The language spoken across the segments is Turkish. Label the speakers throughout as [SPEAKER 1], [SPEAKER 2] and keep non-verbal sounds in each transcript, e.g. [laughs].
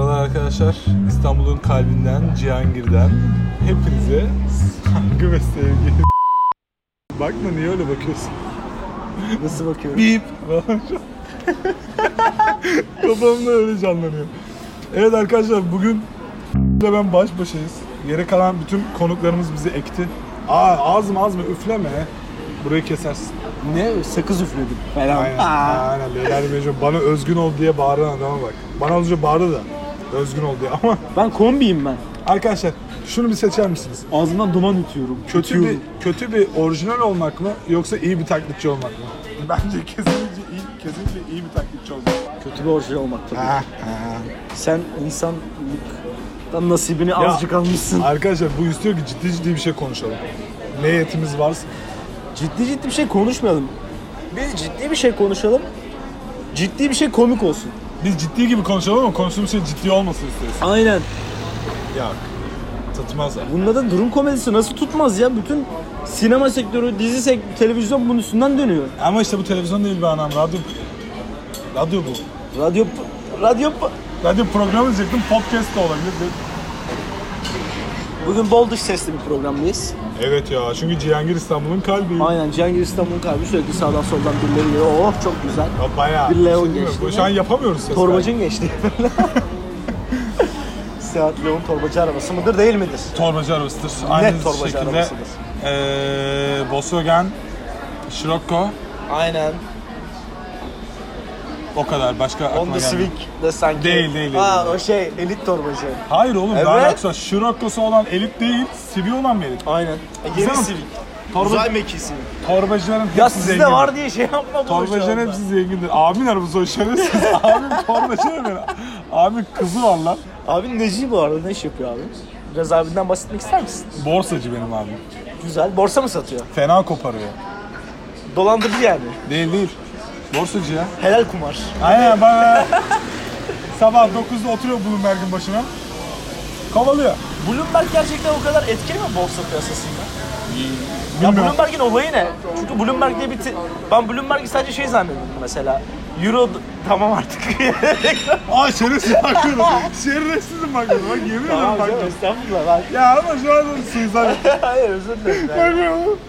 [SPEAKER 1] arkadaşlar. İstanbul'un kalbinden, Cihangir'den hepinize saygı ve sevgi. Bakma niye öyle bakıyorsun?
[SPEAKER 2] Nasıl bakıyorum?
[SPEAKER 1] Bip. Kafamda öyle canlanıyor. Evet arkadaşlar bugün ile ben baş başayız. Yere kalan bütün konuklarımız bizi ekti. Aa ağzım ağzım üfleme. Burayı kesersin.
[SPEAKER 2] Ne? Sakız üfledim falan.
[SPEAKER 1] Aynen.
[SPEAKER 2] Aa.
[SPEAKER 1] Aynen. Beyler Mecnun bana özgün ol diye bağıran adama bak. Bana az önce bağırdı da özgün ol diye ama
[SPEAKER 2] Ben kombiyim ben.
[SPEAKER 1] arkadaşlar şunu bir seçer misiniz?
[SPEAKER 2] Ağzımdan duman ütüyorum.
[SPEAKER 1] Kötü bir
[SPEAKER 2] Ütüyorum.
[SPEAKER 1] kötü bir orijinal olmak mı yoksa iyi bir taklitçi olmak mı? Bence kesinlikle iyi kesinlikle iyi bir taklitçi olmak.
[SPEAKER 2] Kötü bir orijinal olmak tabii. Sen insanlıktan nasibini azıcık almışsın.
[SPEAKER 1] Arkadaşlar bu istiyor ki ciddi ciddi bir şey konuşalım. Ne yetimiz varsa.
[SPEAKER 2] Ciddi ciddi bir şey konuşmayalım. Biz ciddi bir şey konuşalım. Ciddi bir şey komik olsun.
[SPEAKER 1] Biz ciddi gibi konuşalım ama konuştuğumuz şey ciddi olmasın istiyoruz.
[SPEAKER 2] Aynen.
[SPEAKER 1] Yok. Tutmaz abi.
[SPEAKER 2] Bunda da durum komedisi nasıl tutmaz ya? Bütün sinema sektörü, dizi sektörü, televizyon bunun üstünden dönüyor.
[SPEAKER 1] Ama işte bu televizyon değil be anam. Radyo. Radyo bu.
[SPEAKER 2] Radyo radyo
[SPEAKER 1] Radyo programı diyecektim. Podcast da olabilir.
[SPEAKER 2] Bugün bol dış sesli bir programdayız.
[SPEAKER 1] Evet ya. Çünkü Cihangir İstanbul'un kalbi.
[SPEAKER 2] Aynen Cihangir İstanbul'un kalbi sürekli sağdan soldan birileri geliyor. Oh çok güzel.
[SPEAKER 1] Ya bayağı.
[SPEAKER 2] Bir Leon
[SPEAKER 1] değil mi?
[SPEAKER 2] geçti
[SPEAKER 1] Bu-
[SPEAKER 2] mi?
[SPEAKER 1] Şu an yapamıyoruz ses.
[SPEAKER 2] Torbacın geçti. [laughs] Seat Leon torbacı arabası mıdır değil midir?
[SPEAKER 1] belki. Torbacı arabasıdır. Aynı
[SPEAKER 2] torbacı
[SPEAKER 1] şekilde,
[SPEAKER 2] arabasıdır.
[SPEAKER 1] eee, Volkswagen, Scirocco
[SPEAKER 2] Aynen.
[SPEAKER 1] o kadar. Başka aklıma
[SPEAKER 2] Honda
[SPEAKER 1] gelmiyor.
[SPEAKER 2] Civic de sanki.
[SPEAKER 1] Değil, değil, değil.
[SPEAKER 2] Ha o şey elit torbacı.
[SPEAKER 1] Hayır oğlum daha
[SPEAKER 2] Evet.
[SPEAKER 1] yoksa Scirocco'su olan elit değil, Civic olan bir elit.
[SPEAKER 2] Aynen.
[SPEAKER 1] Güzel mi? Torba-
[SPEAKER 2] mekisi.
[SPEAKER 1] Torbacıların hepsi
[SPEAKER 2] Ya
[SPEAKER 1] zengin.
[SPEAKER 2] sizde var diye şey yapma bunu şu
[SPEAKER 1] Torbacıların
[SPEAKER 2] anda.
[SPEAKER 1] hepsi zengindir. Abimin arabası o şerefsiz. [laughs] Abim torbacı ne Abim kızı var lan.
[SPEAKER 2] Abin neci bu arada ne iş yapıyor abi? Biraz abinden bahsetmek ister misin?
[SPEAKER 1] Borsacı benim abim.
[SPEAKER 2] Güzel. Borsa mı satıyor?
[SPEAKER 1] Fena koparıyor.
[SPEAKER 2] Dolandırıcı yani.
[SPEAKER 1] Değil değil. Borsacı ya.
[SPEAKER 2] Helal kumar.
[SPEAKER 1] Aynen bana. Sabah 9'da oturuyor Bloomberg'in başına. Kovalıyor.
[SPEAKER 2] Bloomberg gerçekten o kadar etkili mi borsa piyasasında? Ya
[SPEAKER 1] Bilmiyorum.
[SPEAKER 2] Bloomberg'in olayı ne? Çünkü Bloomberg diye bir... ti- Ben Bloomberg'i sadece şey zannediyordum mesela. Euro... Tamam artık. [laughs]
[SPEAKER 1] Ay şerefsiz bakıyorum. Şerefsizim bakıyorum. Bak yemin ederim bakıyorum.
[SPEAKER 2] Estağfurullah. Ben...
[SPEAKER 1] Ya ama şu an suizan.
[SPEAKER 2] [laughs] Hayır özür dilerim. Ben...
[SPEAKER 1] Bakıyorum.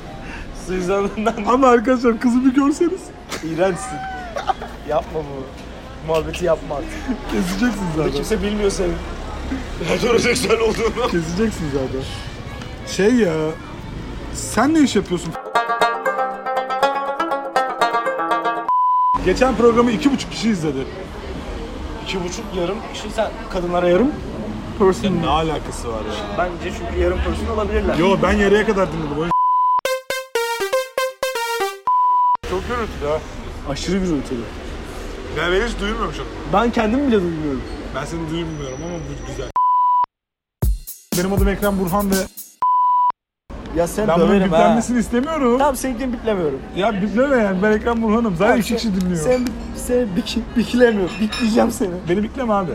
[SPEAKER 2] Suizanından [laughs]
[SPEAKER 1] Ama arkadaşlar kızı bir görseniz
[SPEAKER 2] iğrençsin. yapma bunu. Muhabbeti yapma artık.
[SPEAKER 1] keseceksiniz
[SPEAKER 2] Bunu
[SPEAKER 1] zaten.
[SPEAKER 2] Kimse bilmiyor senin. Heteroseksüel olduğunu.
[SPEAKER 1] Keseceksiniz zaten. Şey ya sen ne iş yapıyorsun? Geçen programı iki buçuk kişi izledi.
[SPEAKER 2] İki buçuk yarım. İşte sen kadınlara yarım.
[SPEAKER 1] Person ne alakası var ya?
[SPEAKER 2] Bence çünkü yarım person olabilirler.
[SPEAKER 1] Yo ben yarıya kadar dinledim. O
[SPEAKER 2] Çok gürültülü ha. Aşırı gürültülü.
[SPEAKER 1] Ben hiç duymuyormuşum.
[SPEAKER 2] Ben kendim bile duymuyorum.
[SPEAKER 1] Ben seni duymuyorum ama bu güzel. Benim adım Ekrem Burhan ve
[SPEAKER 2] Ya sen
[SPEAKER 1] ben bunun
[SPEAKER 2] döverim ha.
[SPEAKER 1] biplenmesini istemiyorum.
[SPEAKER 2] Tamam seninkini bitlemiyorum.
[SPEAKER 1] Ya bipleme yani ben Ekrem Burhan'ım. Zaten iki kişi dinliyor.
[SPEAKER 2] Sen seni bik, bikilemiyorum. Bikleyeceğim seni. [laughs]
[SPEAKER 1] Beni bipleme abi.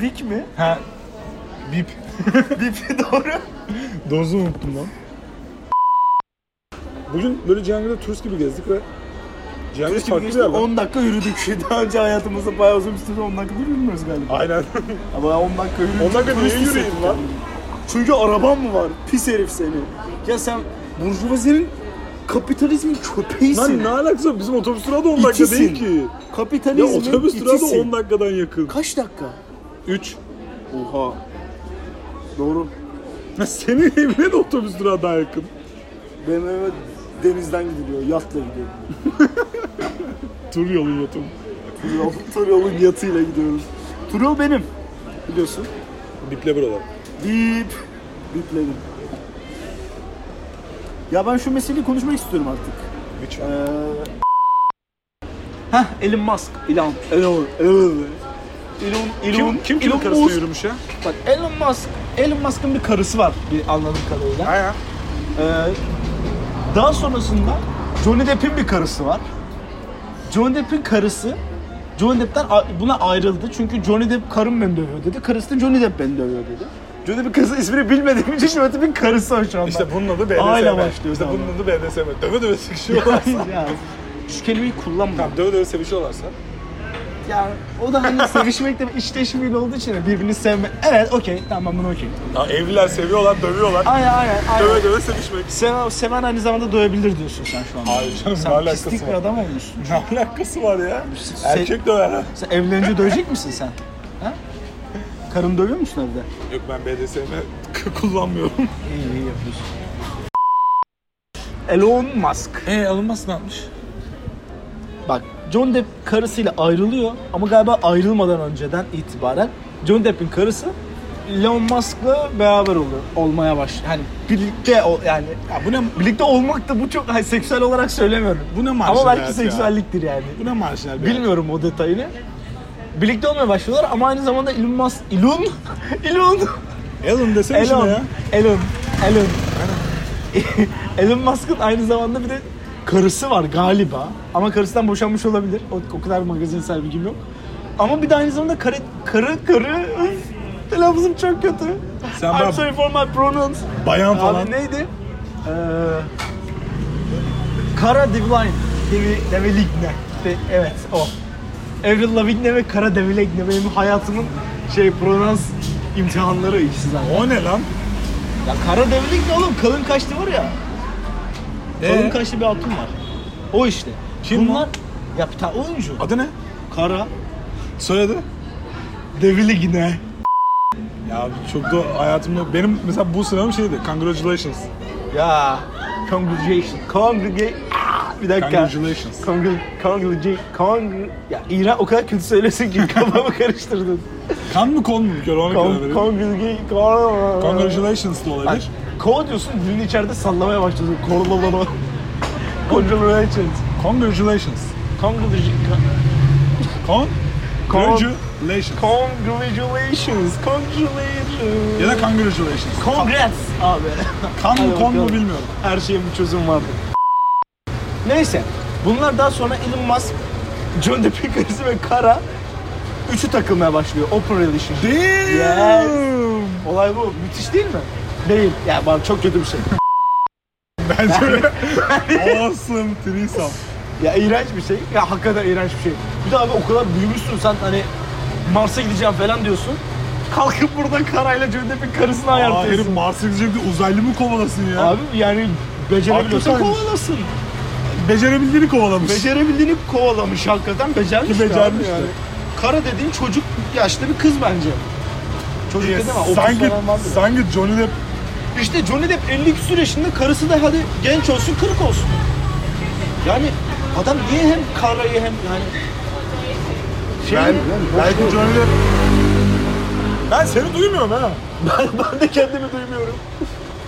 [SPEAKER 2] Bik mi?
[SPEAKER 1] Ha. Bip.
[SPEAKER 2] [laughs] Bip doğru.
[SPEAKER 1] Dozu unuttum lan. Bugün böyle Cihangir'de turist gibi gezdik ve Cihangir farklı bir yer lan.
[SPEAKER 2] 10 dakika yürüdük. [laughs] Daha önce hayatımızda bayağı uzun bir süre 10 dakika yürümüyoruz galiba. [laughs]
[SPEAKER 1] Aynen.
[SPEAKER 2] Ama 10 dakika yürüdük.
[SPEAKER 1] 10 dakika niye
[SPEAKER 2] Turist
[SPEAKER 1] yürüyeyim
[SPEAKER 2] hissettim.
[SPEAKER 1] lan?
[SPEAKER 2] Çünkü araban mı var? Pis herif seni. Ya sen burjuvazinin kapitalizmin köpeğisin.
[SPEAKER 1] Lan ne alakası var? Bizim otobüs durağı da 10 dakika
[SPEAKER 2] İtisin.
[SPEAKER 1] değil ki. Ya
[SPEAKER 2] Kapitalizmin
[SPEAKER 1] otobüs durağı da
[SPEAKER 2] itisin.
[SPEAKER 1] 10 dakikadan yakın.
[SPEAKER 2] Kaç dakika?
[SPEAKER 1] 3.
[SPEAKER 2] Oha. Doğru.
[SPEAKER 1] Senin evine de otobüs durağı daha yakın.
[SPEAKER 2] Benim eve denizden gidiliyor, yatla gidiyor.
[SPEAKER 1] Tur yolu yatım.
[SPEAKER 2] Turyol, [laughs] Turyol'un yatıyla gidiyoruz. Turyol benim. Biliyorsun.
[SPEAKER 1] Biple buralar.
[SPEAKER 2] Bip. Bipledim. Ya ben şu meseleyi konuşmak istiyorum artık.
[SPEAKER 1] Biç.
[SPEAKER 2] Ee... Heh, Elon Musk. Elon. Elon. Elon. Elon. Elon.
[SPEAKER 1] Kim, kim kimin
[SPEAKER 2] Elon
[SPEAKER 1] karısına
[SPEAKER 2] Musk.
[SPEAKER 1] yürümüş ya?
[SPEAKER 2] Bak Elon Musk. Elon Musk'ın bir karısı var bir anladığım kadarıyla.
[SPEAKER 1] Aya.
[SPEAKER 2] Ee, daha sonrasında Johnny Depp'in bir karısı var. Johnny Depp'in karısı Johnny Depp'ten a- buna ayrıldı. Çünkü Johnny Depp karım beni dövüyor dedi. Karısı da Johnny Depp beni dövüyor dedi. Johnny Depp'in karısı ismini bilmediğim için Johnny Depp'in karısı o şu anda.
[SPEAKER 1] İşte bunun adı BDSM.
[SPEAKER 2] Aile başlıyor
[SPEAKER 1] İşte
[SPEAKER 2] tamam.
[SPEAKER 1] bunun adı BDSM. Döve döve
[SPEAKER 2] [laughs] Ya,
[SPEAKER 1] sevişiyorlarsa.
[SPEAKER 2] ya. Şu kelimeyi kullanma.
[SPEAKER 1] tamam döve döve sevişiyorlarsa.
[SPEAKER 2] Yani o
[SPEAKER 1] [laughs]
[SPEAKER 2] da hani sevişmek de işleşmeyle olduğu için de birbirini sevme. Evet okey tamam ben bunu okey.
[SPEAKER 1] Ya evliler seviyorlar, dövüyorlar.
[SPEAKER 2] Aynen aynen. aynen.
[SPEAKER 1] Döve döve sevişmek.
[SPEAKER 2] Seven, seven aynı zamanda dövebilir diyorsun sen şu anda.
[SPEAKER 1] Hayır canım ne
[SPEAKER 2] Sen
[SPEAKER 1] alakası
[SPEAKER 2] pislik bir
[SPEAKER 1] var?
[SPEAKER 2] adam olmuşsun.
[SPEAKER 1] Ne alakası var ya?
[SPEAKER 2] Se-
[SPEAKER 1] Erkek döver ha.
[SPEAKER 2] Sen evlenince dövecek misin sen? Ha? Karın dövüyor musun evde?
[SPEAKER 1] Yok ben BDSM [laughs] kullanmıyorum.
[SPEAKER 2] İyi iyi yapıyorsun. E, Elon Musk.
[SPEAKER 1] Eee alınmasın atmış.
[SPEAKER 2] Bak John Depp karısıyla ayrılıyor ama galiba ayrılmadan önceden itibaren John Depp'in karısı Elon Musk'la beraber oluyor. Olmaya baş. Hani birlikte o yani ya bu ne birlikte olmak da bu çok hayır, seksüel olarak söylemiyorum.
[SPEAKER 1] Bu ne
[SPEAKER 2] Ama
[SPEAKER 1] marjinal
[SPEAKER 2] belki
[SPEAKER 1] ya?
[SPEAKER 2] seksüelliktir yani.
[SPEAKER 1] Bu ne marjinal bir
[SPEAKER 2] Bilmiyorum o detayını. Birlikte olmaya başlıyorlar ama aynı zamanda Elon Musk Elon [laughs] Elon
[SPEAKER 1] Elon desene şuna
[SPEAKER 2] Elon
[SPEAKER 1] ya.
[SPEAKER 2] Elon Elon Elon [laughs] Musk'ın aynı zamanda bir de karısı var galiba. Ama karısından boşanmış olabilir. O, o kadar magazinsel bilgim yok. Ama bir de aynı zamanda karı karı karı [laughs] Üf, telaffuzum çok kötü.
[SPEAKER 1] Sen
[SPEAKER 2] I'm
[SPEAKER 1] bana-
[SPEAKER 2] sorry for my pronouns.
[SPEAKER 1] Bayan
[SPEAKER 2] Abi
[SPEAKER 1] falan.
[SPEAKER 2] neydi? Ee, Kara Divine. Devi, Develigne. De, evet o. Avril Lavigne ve Kara Develigne benim hayatımın şey pronans imtihanları ikisi zaten.
[SPEAKER 1] O ne lan?
[SPEAKER 2] Ya Kara Develigne oğlum kalın kaşlı var ya. Kalın
[SPEAKER 1] Ee?
[SPEAKER 2] kaşlı bir hatun var. O işte.
[SPEAKER 1] Kim
[SPEAKER 2] Bunlar
[SPEAKER 1] lan?
[SPEAKER 2] ya bir tane oyuncu.
[SPEAKER 1] Adı ne?
[SPEAKER 2] Kara
[SPEAKER 1] Soyadı?
[SPEAKER 2] Develigne.
[SPEAKER 1] Ya çok da hayatımda benim mesela bu sınavım şeydi. Congratulations.
[SPEAKER 2] Ya congregation. Congregate. Bir dakika.
[SPEAKER 1] Congratulations.
[SPEAKER 2] Congre congregate. Congre ya İran o kadar kötü söylesin ki kafamı [laughs] karıştırdın.
[SPEAKER 1] Kan mı kon mu? Bir kere ona karar
[SPEAKER 2] Con
[SPEAKER 1] verelim.
[SPEAKER 2] congregate. Con
[SPEAKER 1] Congratulations da
[SPEAKER 2] Bak,
[SPEAKER 1] olabilir.
[SPEAKER 2] Ko diyorsun dilini içeride sallamaya başlıyorsun. Korlololo. Congratulations.
[SPEAKER 1] Congratulations.
[SPEAKER 2] Congregate.
[SPEAKER 1] Con?
[SPEAKER 2] Con-
[SPEAKER 1] Congratulations.
[SPEAKER 2] Congratulations, congratulations.
[SPEAKER 1] Ya da congratulations.
[SPEAKER 2] Congrats abi. [laughs]
[SPEAKER 1] Kan
[SPEAKER 2] Hadi
[SPEAKER 1] mı kon mu
[SPEAKER 2] bakalım.
[SPEAKER 1] bilmiyorum.
[SPEAKER 2] Her şeye bir çözüm vardı. Neyse, bunlar daha sonra Elon Musk, John Depp'in karısı ve Kara üçü takılmaya başlıyor. Open relationship.
[SPEAKER 1] Damn.
[SPEAKER 2] Olay bu. Müthiş değil mi? Değil. Ya yani bana çok kötü bir şey.
[SPEAKER 1] [laughs] Bence awesome threesome.
[SPEAKER 2] ya iğrenç bir şey. Ya hakikaten iğrenç bir şey. Bir de abi o kadar büyümüşsün sen hani Mars'a gideceğim falan diyorsun. Kalkıp burada Kara'yla John Depp'in karısını
[SPEAKER 1] Aa,
[SPEAKER 2] ayartıyorsun.
[SPEAKER 1] herif Mars'a gidecek de uzaylı mı kovalasın ya?
[SPEAKER 2] Abi yani becerebiliyorsan
[SPEAKER 1] Hakikaten.
[SPEAKER 2] kovalasın.
[SPEAKER 1] Becerebildiğini kovalamış.
[SPEAKER 2] Becerebildiğini kovalamış hakikaten. Becermiş
[SPEAKER 1] Ki
[SPEAKER 2] de
[SPEAKER 1] becermiş
[SPEAKER 2] abi yani.
[SPEAKER 1] de.
[SPEAKER 2] Kara dediğin çocuk yaşlı bir kız bence. Çocuk dedim ama 30
[SPEAKER 1] Ee, sanki,
[SPEAKER 2] falan vardır.
[SPEAKER 1] sanki Johnny Depp
[SPEAKER 2] İşte Johnny Depp 50 küsur yaşında karısı da hadi genç olsun kırık olsun. Yani adam niye hem karayı hem yani şey
[SPEAKER 1] Ben, belki Johnny Depp... Ben seni duymuyorum ha.
[SPEAKER 2] ben, ben de kendimi duymuyorum.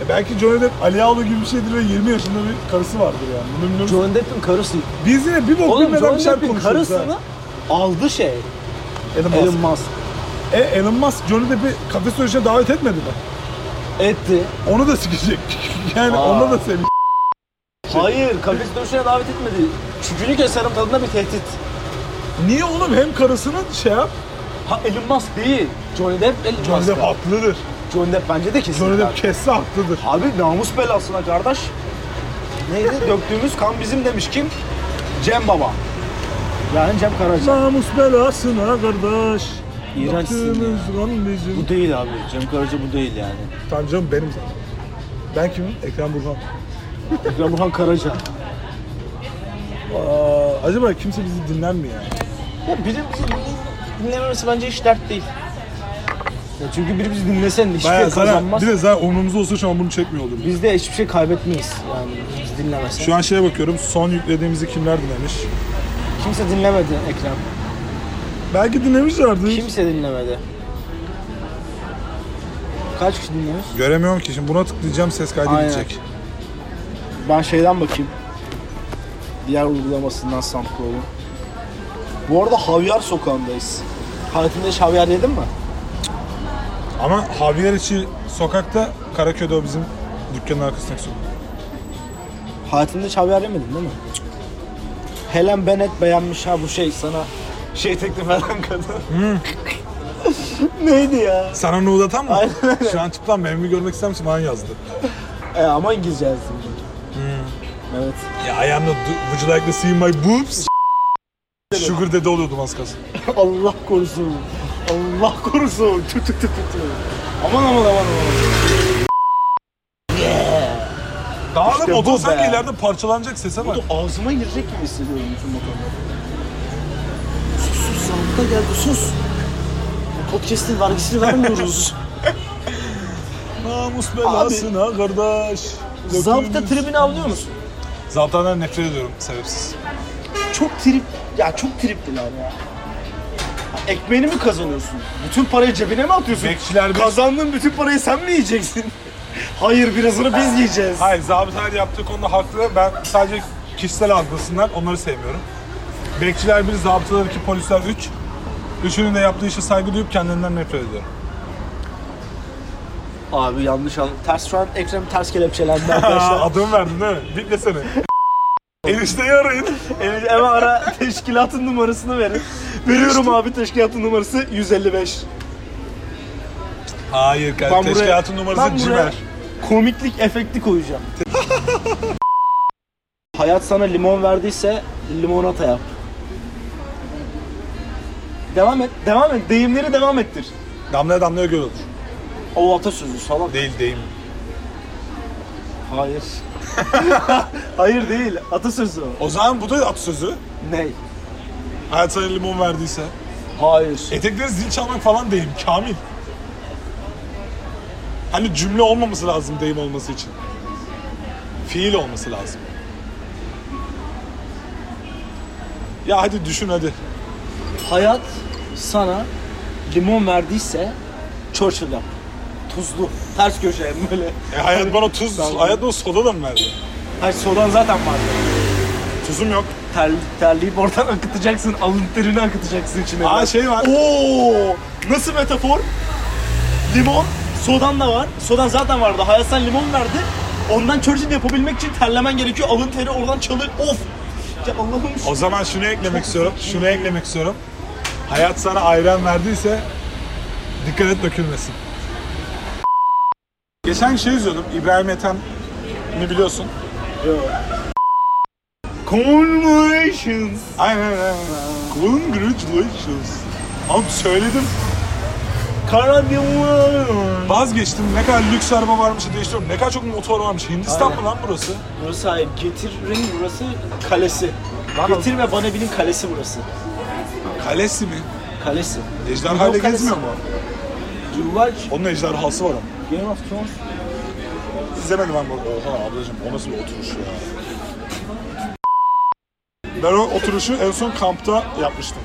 [SPEAKER 1] E belki Johnny Depp Ali Ağlo gibi bir şeydir ve 20 yaşında bir karısı vardır yani. Bunu bilmiyorum.
[SPEAKER 2] Johnny Depp'in karısı.
[SPEAKER 1] Biz yine bir bok
[SPEAKER 2] Oğlum
[SPEAKER 1] bilmeden bir
[SPEAKER 2] Johnny
[SPEAKER 1] şeyler
[SPEAKER 2] Depp'in
[SPEAKER 1] konuşuyoruz
[SPEAKER 2] karısını
[SPEAKER 1] ha.
[SPEAKER 2] aldı şey.
[SPEAKER 1] Elon Musk.
[SPEAKER 2] Elon Musk.
[SPEAKER 1] E, Elon Musk Johnny Depp'i kafe söyleşine davet etmedi mi?
[SPEAKER 2] Etti.
[SPEAKER 1] Onu da sikecek. [laughs] yani
[SPEAKER 2] Aa.
[SPEAKER 1] ona da sevecek. Şey-
[SPEAKER 2] Hayır, kafes dövüşüne davet etmedi. Çükünü keserim tadında bir tehdit.
[SPEAKER 1] Niye oğlum hem karısını şey yap.
[SPEAKER 2] Ha Elon Musk değil. Johnny Depp, Elon
[SPEAKER 1] Johnny
[SPEAKER 2] Musk.
[SPEAKER 1] Depp haklıdır.
[SPEAKER 2] Johnny Depp bence de kesin.
[SPEAKER 1] Johnny Depp kesse haklıdır.
[SPEAKER 2] Abi namus belasına kardeş. [laughs] Neydi? Döktüğümüz kan bizim demiş kim? Cem Baba. Yani Cem Karaca.
[SPEAKER 1] Namus belasına kardeş.
[SPEAKER 2] İğrençsin ya.
[SPEAKER 1] Yaptığınız lan bizim.
[SPEAKER 2] Bu değil abi. Cem Karaca bu değil yani.
[SPEAKER 1] Tamam canım benim zaten. Ben kimim? Ekrem Burhan.
[SPEAKER 2] Ekrem Burhan Karaca.
[SPEAKER 1] Aa, acaba kimse bizi dinler mi ya?
[SPEAKER 2] Ya biri bizi dinle- dinlememesi bence hiç dert değil. Ya çünkü biri bizi dinlesen hiçbir şey
[SPEAKER 1] Bayağı zaten,
[SPEAKER 2] kazanmaz.
[SPEAKER 1] bir de zaten umrumuzda olsa şu an bunu çekmiyor olurduk.
[SPEAKER 2] Biz de hiçbir şey kaybetmeyiz. Yani bizi dinlemesen.
[SPEAKER 1] Şu an şeye bakıyorum, son yüklediğimizi kimler dinlemiş?
[SPEAKER 2] Kimse dinlemedi Ekrem.
[SPEAKER 1] Belki dinlemişlerdir.
[SPEAKER 2] Kimse dinlemedi. Kaç kişi dinlemiş?
[SPEAKER 1] Göremiyorum ki, şimdi buna tıklayacağım ses kaydı
[SPEAKER 2] Aynen.
[SPEAKER 1] gidecek.
[SPEAKER 2] Ben şeyden bakayım. Diğer uygulamasından SoundCloud'un. Bu arada Havyar sokağındayız. Hayatında hiç Havyar yedin mi?
[SPEAKER 1] Ama Javier içi sokakta, Karaköy'de o bizim dükkanın arkasındaki sokak.
[SPEAKER 2] Hayatında hiç Havyar yemedin değil mi? Helen Bennett beğenmiş ha bu şey sana şey teklif eden kadın. [laughs] Neydi ya?
[SPEAKER 1] Sana nude atan mı?
[SPEAKER 2] Aynen öyle.
[SPEAKER 1] şu an tıklan, ben mi görmek ister misin? Bana yazdı.
[SPEAKER 2] E, ama İngilizce yazdım. Evet.
[SPEAKER 1] Ya ayağımda, would you like to see my boobs? Sugar dede oluyordum az kalsın.
[SPEAKER 2] [laughs] Allah korusun. Allah korusun. Tü tü tü tü tü. Aman aman aman aman.
[SPEAKER 1] Dağılır
[SPEAKER 2] İşte
[SPEAKER 1] motor
[SPEAKER 2] bu
[SPEAKER 1] sanki
[SPEAKER 2] be.
[SPEAKER 1] ileride parçalanacak sese bak.
[SPEAKER 2] Bu da ağzıma girecek gibi hissediyorum bütün motorları. Sus sus sandıkta geldi sus. Bu Podcast'in vergisini [laughs] vermiyoruz.
[SPEAKER 1] Namus belasına kardeş.
[SPEAKER 2] Zabıta
[SPEAKER 1] Dökülmüş.
[SPEAKER 2] tribini avlıyor musun?
[SPEAKER 1] Zabıtadan nefret ediyorum sebepsiz.
[SPEAKER 2] Çok trip, ya çok tripliler ya. Ekmeğini mi kazanıyorsun? Bütün parayı cebine mi atıyorsun?
[SPEAKER 1] Bekçiler beş-
[SPEAKER 2] Kazandığın bütün parayı sen mi yiyeceksin? [laughs] Hayır birazını biz yiyeceğiz.
[SPEAKER 1] Hayır zabıtalar yaptığı konuda haklı. Ben sadece kişisel algısından onları sevmiyorum. Bekçiler bir, zabıtalar iki, polisler üç. Üçünün de yaptığı işe saygı duyup kendilerinden nefret ediyorum.
[SPEAKER 2] Abi yanlış an. Ters şu an Ekrem ters kelepçelendi
[SPEAKER 1] Aa,
[SPEAKER 2] arkadaşlar.
[SPEAKER 1] adımı verdin değil mi? Bitlesene. Enişteyi arayın.
[SPEAKER 2] evet, [laughs] eve ara teşkilatın numarasını [laughs] verin. Veriyorum abi teşkilatın numarası 155.
[SPEAKER 1] Hayır
[SPEAKER 2] Ben
[SPEAKER 1] kardeşim.
[SPEAKER 2] buraya-
[SPEAKER 1] Teşkilatın numarası
[SPEAKER 2] ben buraya
[SPEAKER 1] Cimer.
[SPEAKER 2] Komiklik
[SPEAKER 1] [laughs]
[SPEAKER 2] efekti koyacağım. Hayat sana limon verdiyse limonata yap. Devam et, devam et. Deyimleri devam ettir.
[SPEAKER 1] Damlaya damlaya göl olur.
[SPEAKER 2] O atasözü salak.
[SPEAKER 1] Değil deyim.
[SPEAKER 2] Hayır. [laughs] Hayır değil. Atasözü o.
[SPEAKER 1] O zaman bu da atasözü.
[SPEAKER 2] Ney?
[SPEAKER 1] Hayat sana limon verdiyse.
[SPEAKER 2] Hayır.
[SPEAKER 1] Etekleri zil çalmak falan deyim. Kamil. Hani cümle olmaması lazım deyim olması için. Fiil olması lazım. Ya hadi düşün hadi.
[SPEAKER 2] Hayat sana limon verdiyse Churchill yap. Tuzlu. Ters köşe böyle.
[SPEAKER 1] E, hayat bana tuz,
[SPEAKER 2] Tamam.
[SPEAKER 1] hayat bana soda da mı verdi?
[SPEAKER 2] Hayır sodan zaten vardı.
[SPEAKER 1] Tuzum yok.
[SPEAKER 2] Ter, terleyip oradan [laughs] akıtacaksın. Alın terini akıtacaksın içine.
[SPEAKER 1] Aa şey var.
[SPEAKER 2] Oo! Nasıl metafor? Limon, sodan da var. Sodan zaten vardı. Hayat sana limon verdi. Ondan Churchill yapabilmek için terlemen gerekiyor. Alın teri oradan çalır. Of! Ya Allah'ım
[SPEAKER 1] O zaman şunu eklemek istiyorum. Şunu eklemek istiyorum. Hayat sana ayran verdiyse dikkat et dökülmesin. Geçen şey izliyordum. İbrahim Ethem'i biliyorsun.
[SPEAKER 2] Conversations.
[SPEAKER 1] Aynen aynen. aynen. Congratulations. Abi söyledim.
[SPEAKER 2] Karadeniz.
[SPEAKER 1] Vazgeçtim. Ne kadar lüks araba varmış diye düşünüyorum. Ne kadar çok motor varmış. Hindistan mı lan burası?
[SPEAKER 2] Burası hayır. Getir'in burası kalesi. Getir ve Banabil'in kalesi burası.
[SPEAKER 1] Kalesi mi?
[SPEAKER 2] Kalesi.
[SPEAKER 1] Ejderha ile
[SPEAKER 2] Yok, kalesi.
[SPEAKER 1] gezmiyor mu?
[SPEAKER 2] Yıllar
[SPEAKER 1] Onun ejderhası var ama.
[SPEAKER 2] Game of Thrones.
[SPEAKER 1] İzlemedim ben bu. Oha ablacığım o nasıl bir oturuş ya. Ben o oturuşu en son kampta yapmıştım.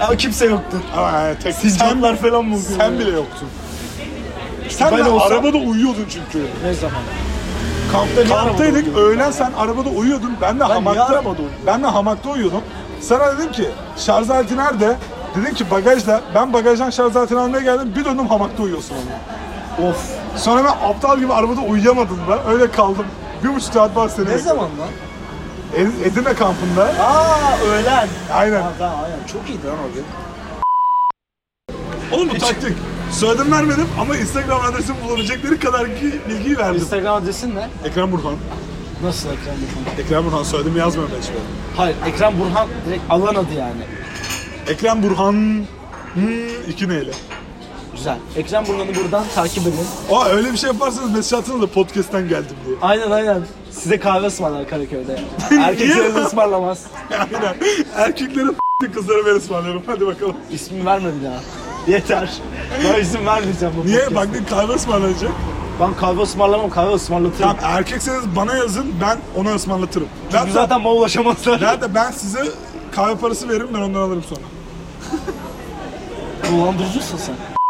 [SPEAKER 2] Ama kimse yoktu.
[SPEAKER 1] Ama yani tek
[SPEAKER 2] Sincaplar falan mı oluyor?
[SPEAKER 1] Sen bile yoktun. Sen
[SPEAKER 2] Ben
[SPEAKER 1] de
[SPEAKER 2] olsam-
[SPEAKER 1] arabada uyuyordun çünkü.
[SPEAKER 2] Ne zaman? Kampta niye arabada
[SPEAKER 1] Kamptaydık.
[SPEAKER 2] uyuyorsun?
[SPEAKER 1] Öğlen sen arabada uyuyordun. Ben de hamakta.
[SPEAKER 2] niye arabada uyuyorum?
[SPEAKER 1] Ben de hamakta uyuyordum. Sana dedim ki şarj aleti nerede? Dedin ki bagajda. Ben bagajdan şarj aletini almaya geldim. Bir döndüm hamakta uyuyorsun ama.
[SPEAKER 2] Of.
[SPEAKER 1] Sonra ben aptal gibi arabada uyuyamadım ben. Öyle kaldım. Bir buçuk saat var seni.
[SPEAKER 2] Ne zaman lan?
[SPEAKER 1] E- Edirne kampında.
[SPEAKER 2] Aa öğlen.
[SPEAKER 1] Aynen.
[SPEAKER 2] Aa, daha aynen. Çok iyiydi lan o gün.
[SPEAKER 1] Oğlum bu taktik. Söyledim vermedim ama Instagram adresimi bulabilecekleri kadar ki bilgiyi verdim.
[SPEAKER 2] Instagram adresin ne?
[SPEAKER 1] Ekrem Burhan.
[SPEAKER 2] Nasıl Ekrem Burhan?
[SPEAKER 1] Ekrem Burhan söyledim yazmıyorum ben hiçbir yere.
[SPEAKER 2] Hayır Ekrem Burhan direkt alan adı yani.
[SPEAKER 1] Ekrem Burhan. Hmm, iki neyle?
[SPEAKER 2] Güzel. Ekrem Burhan'ı buradan takip edin.
[SPEAKER 1] Aa öyle bir şey yaparsanız mesaj atsanız da podcast'ten geldim diye. [laughs]
[SPEAKER 2] Aynen aynen. Size kahve ısmarlar Karaköy'de. Erkekleriniz ısmarlamaz.
[SPEAKER 1] Aynen. Erkeklerin [laughs] kızları ben ısmarlıyorum. Hadi bakalım.
[SPEAKER 2] İsmini verme bir daha. [laughs] Yeter. Ben isim vermeyeceğim bu
[SPEAKER 1] Niye?
[SPEAKER 2] podcast'te.
[SPEAKER 1] Baktın kahve ısmarlanacak.
[SPEAKER 2] Ben kahve ısmarlamam, kahve ısmarlatırım.
[SPEAKER 1] Tamam erkekseniz bana yazın ben ona ısmarlatırım. Ben,
[SPEAKER 2] Çünkü zaten mal ulaşamazlar.
[SPEAKER 1] Nerede ben size kahve parası veririm ben ondan alırım sonra.
[SPEAKER 2] Dolandırıcısın sen.